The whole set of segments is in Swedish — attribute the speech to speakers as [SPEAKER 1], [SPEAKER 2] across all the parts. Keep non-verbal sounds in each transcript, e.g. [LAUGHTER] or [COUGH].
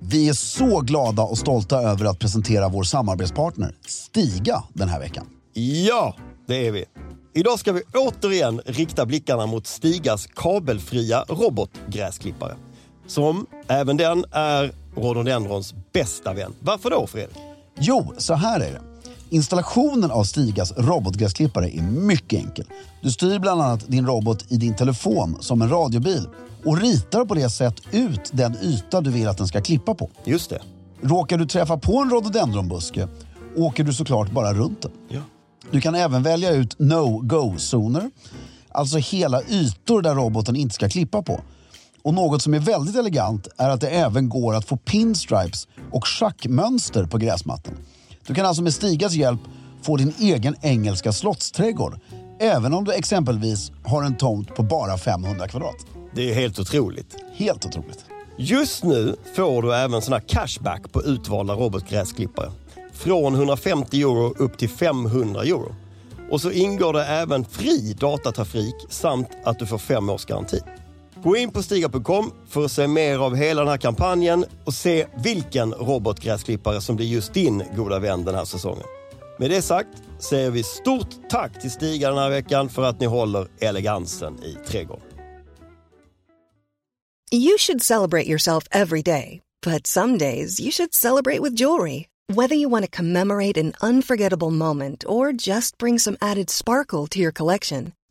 [SPEAKER 1] Vi är så glada och stolta över att presentera vår samarbetspartner Stiga den här veckan.
[SPEAKER 2] Ja, det är vi. Idag ska vi återigen rikta blickarna mot Stigas kabelfria robotgräsklippare. Som även den är rhododendrons bästa vän. Varför då Fredrik?
[SPEAKER 1] Jo, så här är det. Installationen av Stigas robotgräsklippare är mycket enkel. Du styr bland annat din robot i din telefon som en radiobil och ritar på det sätt ut den yta du vill att den ska klippa på.
[SPEAKER 2] Just det.
[SPEAKER 1] Råkar du träffa på en rhododendronbuske åker du såklart bara runt den.
[SPEAKER 2] Ja.
[SPEAKER 1] Du kan även välja ut no-go-zoner, alltså hela ytor där roboten inte ska klippa på. Och något som är väldigt elegant är att det även går att få pinstripes och schackmönster på gräsmattan. Du kan alltså med Stigas hjälp få din egen engelska slottsträdgård, även om du exempelvis har en tomt på bara 500 kvadrat.
[SPEAKER 2] Det är helt otroligt.
[SPEAKER 1] Helt otroligt.
[SPEAKER 2] Just nu får du även sån här cashback på utvalda robotgräsklippare. Från 150 euro upp till 500 euro. Och så ingår det även fri datatrafik samt att du får fem års garanti. Gå in på stiga.com för att se mer av hela den här kampanjen och se vilken robotgräsklippare som blir just din goda vän den här säsongen. Med det sagt säger vi stort tack till Stiga den här veckan för att ni håller elegansen i trädgården.
[SPEAKER 3] You should celebrate yourself every day, but some days you should celebrate with jewelry. Whether you want to commemorate an unforgettable moment or just bring some added sparkle to your collection,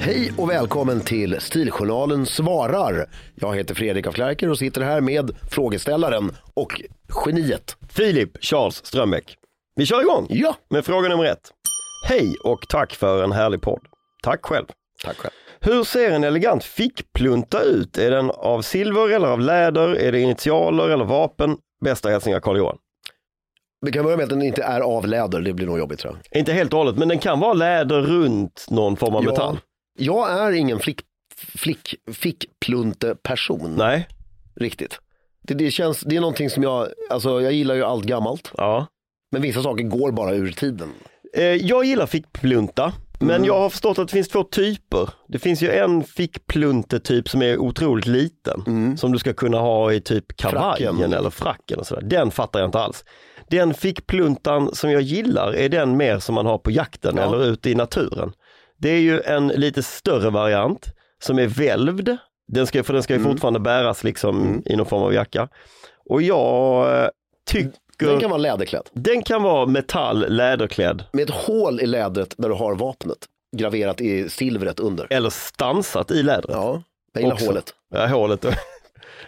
[SPEAKER 4] Hej och välkommen till Stiljournalen svarar. Jag heter Fredrik af Klerker och sitter här med frågeställaren och geniet.
[SPEAKER 2] Filip Charles Strömbäck. Vi kör igång
[SPEAKER 4] Ja,
[SPEAKER 2] med fråga nummer ett. Hej och tack för en härlig podd. Tack själv.
[SPEAKER 4] tack själv.
[SPEAKER 2] Hur ser en elegant fickplunta ut? Är den av silver eller av läder? Är det initialer eller vapen? Bästa hälsningar Carl Johan.
[SPEAKER 4] Vi kan börja med att den inte är av läder, det blir nog jobbigt tror jag.
[SPEAKER 2] Inte helt och hållet, men den kan vara läder runt någon form av metall.
[SPEAKER 4] Jag är ingen flick, flick, fickplunte-person
[SPEAKER 2] Nej,
[SPEAKER 4] riktigt. Det, det, känns, det är någonting som jag, alltså jag gillar ju allt gammalt,
[SPEAKER 2] ja.
[SPEAKER 4] men vissa saker går bara ur tiden.
[SPEAKER 2] Eh, jag gillar fickplunta, men
[SPEAKER 4] Mm.
[SPEAKER 2] jag har förstått att det finns två typer. Det finns ju en fickpluntetyp som är otroligt liten, som du ska kunna ha i typ kavajen
[SPEAKER 4] Mm. Fracken.
[SPEAKER 2] eller fracken och sådär. Den fattar jag inte alls. Den fickpluntan som jag gillar är den mer som man har på jakten eller ute i naturen. Det är ju en lite större variant som är välvd, den ska, för den ska
[SPEAKER 4] Mm.
[SPEAKER 2] ju fortfarande bäras liksom i någon form av jacka. Och jag eh, tycker,
[SPEAKER 4] Den kan vara läderklädd,
[SPEAKER 2] den kan vara metall, läderklädd
[SPEAKER 4] med ett hål i lädret där du har vapnet graverat i silvret under.
[SPEAKER 2] eller stansat i lädret. Ja.
[SPEAKER 4] Ja, jag gillar
[SPEAKER 2] Också.
[SPEAKER 4] hålet.
[SPEAKER 2] hålet. [LAUGHS]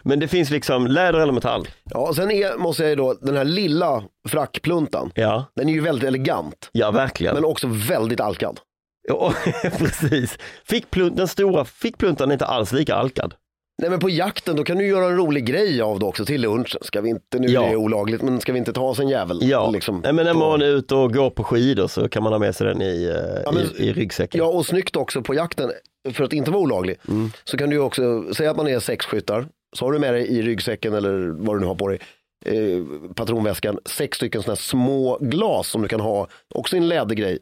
[SPEAKER 2] Men det finns liksom läder eller metall.
[SPEAKER 4] Ja, och sen är, måste jag ju då, den här lilla frackpluntan,
[SPEAKER 2] Ja,
[SPEAKER 4] den är ju väldigt elegant,
[SPEAKER 2] ja verkligen.
[SPEAKER 4] men också väldigt alkad.
[SPEAKER 2] Ja, [LAUGHS] precis. Fickplunt, den stora fickpluntan är inte alls lika alkad.
[SPEAKER 4] Nej men på jakten, då kan du göra en rolig grej av det också till lunchen. Ska vi inte, nu
[SPEAKER 2] Ja.
[SPEAKER 4] är det olagligt, men ska vi inte ta oss en jävel?
[SPEAKER 2] Ja, Mm.
[SPEAKER 4] liksom,
[SPEAKER 2] Nej, men när
[SPEAKER 4] på-
[SPEAKER 2] man är ute och går på skidor så kan man ha med sig den i, eh,
[SPEAKER 4] men-
[SPEAKER 2] i, i ryggsäcken.
[SPEAKER 4] ja, och snyggt också på jakten, för att inte vara olaglig,
[SPEAKER 2] Mm.
[SPEAKER 4] så kan du ju också, säga att man är sex skyttar, så har du med dig i ryggsäcken eller vad du nu har på dig, eh, patronväskan, sex stycken sådana här små glas som du kan ha, också i en lädergrej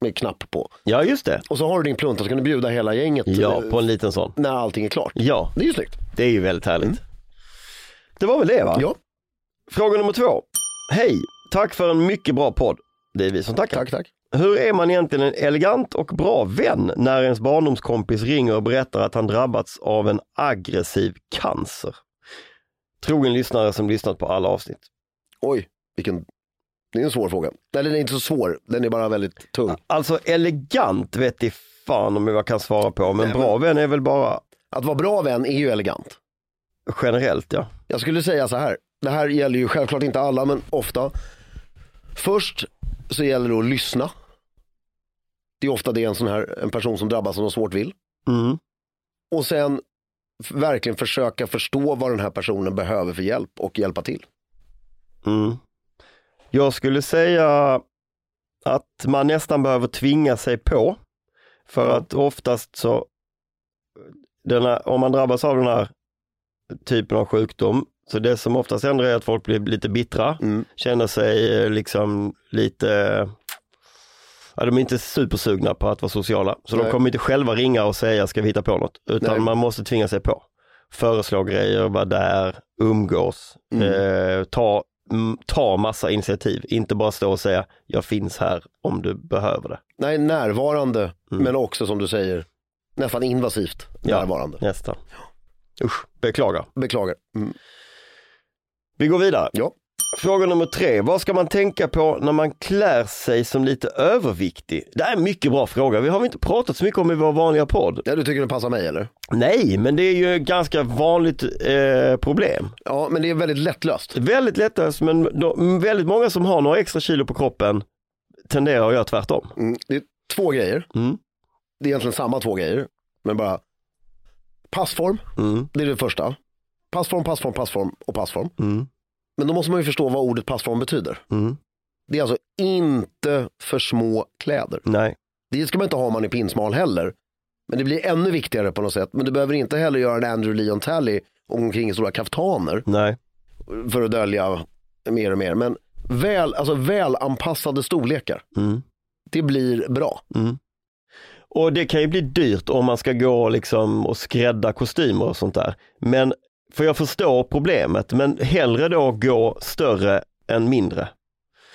[SPEAKER 4] med knapp på.
[SPEAKER 2] ja just det.
[SPEAKER 4] Och så har du din plunta så kan du bjuda hela gänget
[SPEAKER 2] Ja,
[SPEAKER 4] eh,
[SPEAKER 2] på en liten sån.
[SPEAKER 4] när allting är klart.
[SPEAKER 2] Ja,
[SPEAKER 4] Det är ju snyggt.
[SPEAKER 2] det är ju väldigt härligt. Det var väl det va?
[SPEAKER 4] Mm. Ja,
[SPEAKER 2] Fråga nummer två. Hej, tack för en mycket bra podd. Det är vi som tackar.
[SPEAKER 4] tack, tack.
[SPEAKER 2] Hur är man egentligen en elegant och bra vän när ens barndomskompis ringer och berättar att han drabbats av en aggressiv cancer? Trogen lyssnare som lyssnat på alla avsnitt.
[SPEAKER 4] Oj, vilken... Det är en svår fråga. Eller den är inte så svår, den är bara väldigt tung.
[SPEAKER 2] Alltså elegant vet i fan om jag kan svara på, men
[SPEAKER 4] Nej, men-
[SPEAKER 2] bra vän är väl bara
[SPEAKER 4] Att vara bra vän är ju elegant.
[SPEAKER 2] generellt ja.
[SPEAKER 4] Jag skulle säga så här, det här gäller ju självklart inte alla men ofta. Först så gäller det att lyssna. Det är ofta det är en sån här en person som drabbas av något svårt vill.
[SPEAKER 2] Mm.
[SPEAKER 4] Och sen f- verkligen försöka förstå vad den här personen behöver för hjälp och hjälpa till.
[SPEAKER 2] Mm. Jag skulle säga att man nästan behöver tvinga sig på. För att oftast så, den här, om man drabbas av den här typen av sjukdom, så det som oftast händer är att folk blir lite bittra,
[SPEAKER 4] Mm.
[SPEAKER 2] känner sig eh, liksom lite, ja, de är inte supersugna på att vara sociala. Så de
[SPEAKER 4] Nej.
[SPEAKER 2] kommer inte själva ringa och säga ska vi hitta på något, utan
[SPEAKER 4] Nej.
[SPEAKER 2] man måste tvinga sig på. Föreslå grejer, vara där, umgås,
[SPEAKER 4] Mm.
[SPEAKER 2] eh, ta, m- ta massa initiativ, inte bara stå och säga jag finns här om du behöver det.
[SPEAKER 4] Nej, närvarande,
[SPEAKER 2] Mm.
[SPEAKER 4] men också som du säger, nästan invasivt
[SPEAKER 2] Ja.
[SPEAKER 4] närvarande.
[SPEAKER 2] Nästa. Usch, beklagar.
[SPEAKER 4] Beklagar. Mm.
[SPEAKER 2] Vi går vidare.
[SPEAKER 4] Ja.
[SPEAKER 2] Fråga nummer tre. Vad ska man tänka på när man klär sig som lite överviktig? Det här är en mycket bra fråga. Vi har väl inte pratat så mycket om i vår vanliga podd.
[SPEAKER 4] Ja, du tycker det passar mig eller?
[SPEAKER 2] Nej, men det är ju ett ganska vanligt eh, problem.
[SPEAKER 4] Ja, men det är väldigt lättlöst.
[SPEAKER 2] Väldigt lättlöst, men de, väldigt många som har några extra kilo på kroppen tenderar att göra tvärtom.
[SPEAKER 4] Mm. Det är två grejer.
[SPEAKER 2] Mm.
[SPEAKER 4] Det är egentligen samma två grejer, men bara passform,
[SPEAKER 2] Mm,
[SPEAKER 4] det är det första. Passform, passform, passform och passform.
[SPEAKER 2] mm,
[SPEAKER 4] Men då måste man ju förstå vad ordet passform betyder.
[SPEAKER 2] mm.
[SPEAKER 4] Det är alltså inte för små kläder.
[SPEAKER 2] Nej,
[SPEAKER 4] Det ska man inte ha om man är pinsmal heller. Men det blir ännu viktigare på något sätt. Men du behöver inte heller göra en Andrew Leon Talley omkring i stora kaftaner
[SPEAKER 2] nej.
[SPEAKER 4] för att dölja mer och mer. Men väl, alltså väl anpassade storlekar,
[SPEAKER 2] Mm,
[SPEAKER 4] det blir bra.
[SPEAKER 2] mm. Och det kan ju bli dyrt om man ska gå liksom och skrädda kostymer och sånt där. Men, för jag förstår problemet, men hellre då gå större än mindre.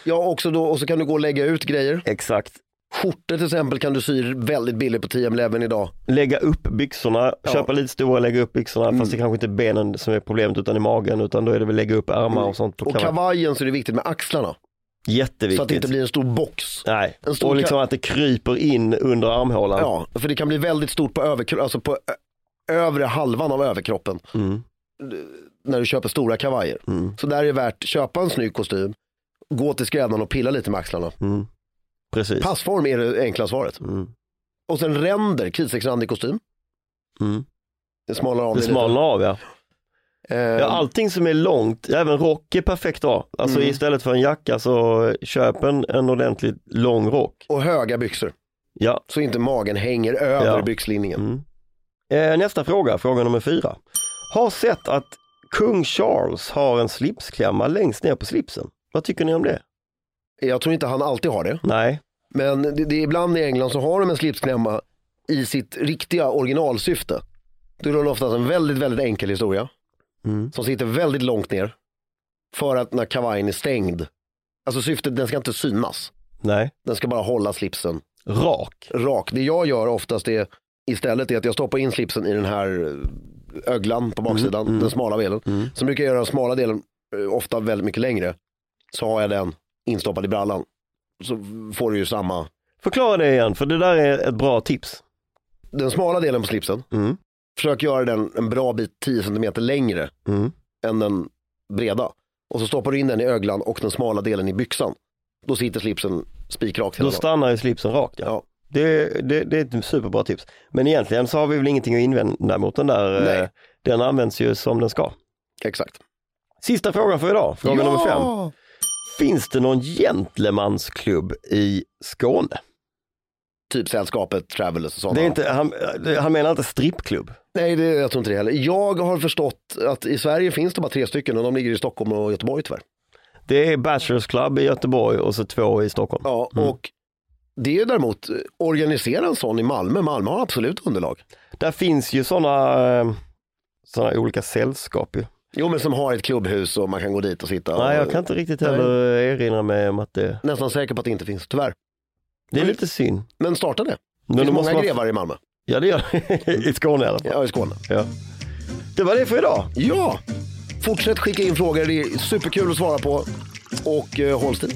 [SPEAKER 4] Ja, också då, och så kan du gå och lägga ut grejer.
[SPEAKER 2] Exakt.
[SPEAKER 4] Skjortor till exempel kan du sy väldigt billigt på 10 11 idag.
[SPEAKER 2] Lägga upp byxorna,
[SPEAKER 4] Ja. Mm.
[SPEAKER 2] köpa lite stora, lägga upp byxorna, fast det kanske inte är benen som är problemet utan i magen, utan då är det väl lägga upp ärmar och sånt på
[SPEAKER 4] Mm. Och
[SPEAKER 2] kavaj.
[SPEAKER 4] kavajen så är det viktigt med axlarna.
[SPEAKER 2] Jätteviktigt.
[SPEAKER 4] Så att det inte blir en stor box.
[SPEAKER 2] Nej,
[SPEAKER 4] En stor
[SPEAKER 2] och liksom att det kryper in under armhålan.
[SPEAKER 4] Ja, för det kan bli väldigt stort på, överkro- alltså på ö- övre halvan av överkroppen.
[SPEAKER 2] Mm,
[SPEAKER 4] när du köper stora kavajer.
[SPEAKER 2] Mm.
[SPEAKER 4] Så där är det värt att köpa en snygg kostym, gå till skräddaren och pilla lite med axlarna.
[SPEAKER 2] mm. Precis.
[SPEAKER 4] Passform är det enkla svaret.
[SPEAKER 2] Mm,
[SPEAKER 4] Och sen ränder, kritstrecksrandig kostym.
[SPEAKER 2] mm.
[SPEAKER 4] Det smalnar av
[SPEAKER 2] Det
[SPEAKER 4] dig
[SPEAKER 2] smalnar av ja.
[SPEAKER 4] lite. Eh,
[SPEAKER 2] ja. Allting som är långt, även rock är perfekt att ha. Alltså
[SPEAKER 4] Mm.
[SPEAKER 2] istället för en jacka så köp en, en ordentligt lång rock.
[SPEAKER 4] Och höga byxor,
[SPEAKER 2] Ja.
[SPEAKER 4] så inte magen hänger över
[SPEAKER 2] Ja.
[SPEAKER 4] byxlinningen.
[SPEAKER 2] Mm. Eh, nästa fråga, fråga nummer fyra. Har sett att kung Charles har en slipsklämma längst ner på slipsen. Vad tycker ni om det?
[SPEAKER 4] Jag tror inte han alltid har det,
[SPEAKER 2] Nej,
[SPEAKER 4] men det, det är ibland i England så har de en slipsklämma i sitt riktiga originalsyfte. Då är det oftast en väldigt, väldigt enkel historia
[SPEAKER 2] Mm.
[SPEAKER 4] som sitter väldigt långt ner för att när kavajen är stängd, alltså syftet, den ska inte synas.
[SPEAKER 2] nej.
[SPEAKER 4] Den ska bara hålla slipsen
[SPEAKER 2] Rak.
[SPEAKER 4] rak. Det jag gör oftast är istället är att jag stoppar in slipsen i den här eh, öglan på baksidan,
[SPEAKER 2] Mm, mm.
[SPEAKER 4] den smala delen.
[SPEAKER 2] Mm.
[SPEAKER 4] Sen brukar jag göra den smala delen eh, ofta väldigt mycket längre. Så har jag den instoppad i brallan. Så får du ju samma.
[SPEAKER 2] Förklara det igen, för det där är ett bra tips.
[SPEAKER 4] Den smala delen på slipsen,
[SPEAKER 2] Mm.
[SPEAKER 4] försök göra den en bra bit 10 cm längre
[SPEAKER 2] Mm.
[SPEAKER 4] än den breda. Och så stoppar du in den i öglan och den smala delen i byxan. Då sitter slipsen spikrakt hela
[SPEAKER 2] Då
[SPEAKER 4] dagen.
[SPEAKER 2] stannar ju slipsen rakt. Ja.
[SPEAKER 4] Ja.
[SPEAKER 2] Det, det, det är ett superbra tips. Men egentligen så har vi väl ingenting att invända mot den där.
[SPEAKER 4] Nej.
[SPEAKER 2] eh, Den används ju som den ska.
[SPEAKER 4] Exakt.
[SPEAKER 2] Sista frågan för idag, fråga nummer fem. Finns det någon gentlemansklubb i Skåne?
[SPEAKER 4] Typ sällskapet, Travelers och sådana.
[SPEAKER 2] Det är inte, han, eh, han menar inte strippklubb.
[SPEAKER 4] Nej, det, jag tror inte det heller. Jag har förstått att i Sverige finns det bara tre stycken och de ligger i Stockholm och Göteborg tyvärr.
[SPEAKER 2] Det är Bachelors Club i Göteborg och så två i Stockholm.
[SPEAKER 4] Ja, och Mm. det är däremot, eh, organisera en sån i Malmö. Malmö har absolut underlag.
[SPEAKER 2] Där finns ju sådana såna olika sällskap ju.
[SPEAKER 4] Jo, men som har ett klubbhus och man kan gå dit och sitta.
[SPEAKER 2] Nej, jag kan inte riktigt heller erinra mig om att det,
[SPEAKER 4] Nästan säker på att det inte finns, tyvärr.
[SPEAKER 2] det är lite synd.
[SPEAKER 4] Men starta det.
[SPEAKER 2] Men
[SPEAKER 4] det
[SPEAKER 2] då
[SPEAKER 4] finns
[SPEAKER 2] måste
[SPEAKER 4] många
[SPEAKER 2] man-
[SPEAKER 4] grevar i Malmö.
[SPEAKER 2] Ja, det [LAUGHS] gör I Skåne i alla fall.
[SPEAKER 4] Ja, i Skåne.
[SPEAKER 2] Ja. Det var det för idag.
[SPEAKER 4] Ja, fortsätt skicka in frågor. Det är superkul att svara på. Och eh, håll stilen.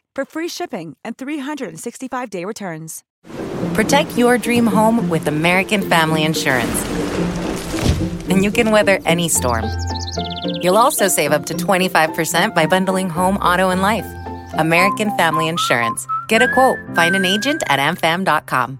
[SPEAKER 5] for free shipping and 365-day returns.
[SPEAKER 6] Protect your dream home with American Family Insurance. And you can weather any storm. You'll also save up to 25% by bundling home, auto, and life. American Family Insurance. Get a quote, find an agent at amfam.com.